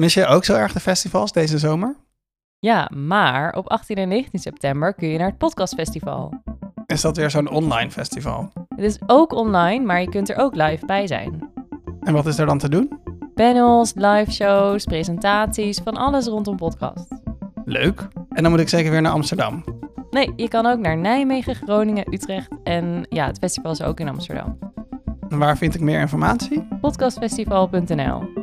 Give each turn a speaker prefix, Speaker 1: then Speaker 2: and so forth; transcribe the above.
Speaker 1: Mis je ook zo erg de festivals deze zomer?
Speaker 2: Ja, maar op 18 en 19 september kun je naar het podcastfestival.
Speaker 1: Is dat weer zo'n online festival?
Speaker 2: Het is ook online, maar je kunt er ook live bij zijn.
Speaker 1: En wat is er dan te doen?
Speaker 2: Panels, live shows, presentaties, van alles rondom podcast.
Speaker 1: Leuk. En dan moet ik zeker weer naar Amsterdam.
Speaker 2: Nee, je kan ook naar Nijmegen, Groningen, Utrecht en ja, het festival is ook in Amsterdam.
Speaker 1: En waar vind ik meer informatie?
Speaker 2: Podcastfestival.nl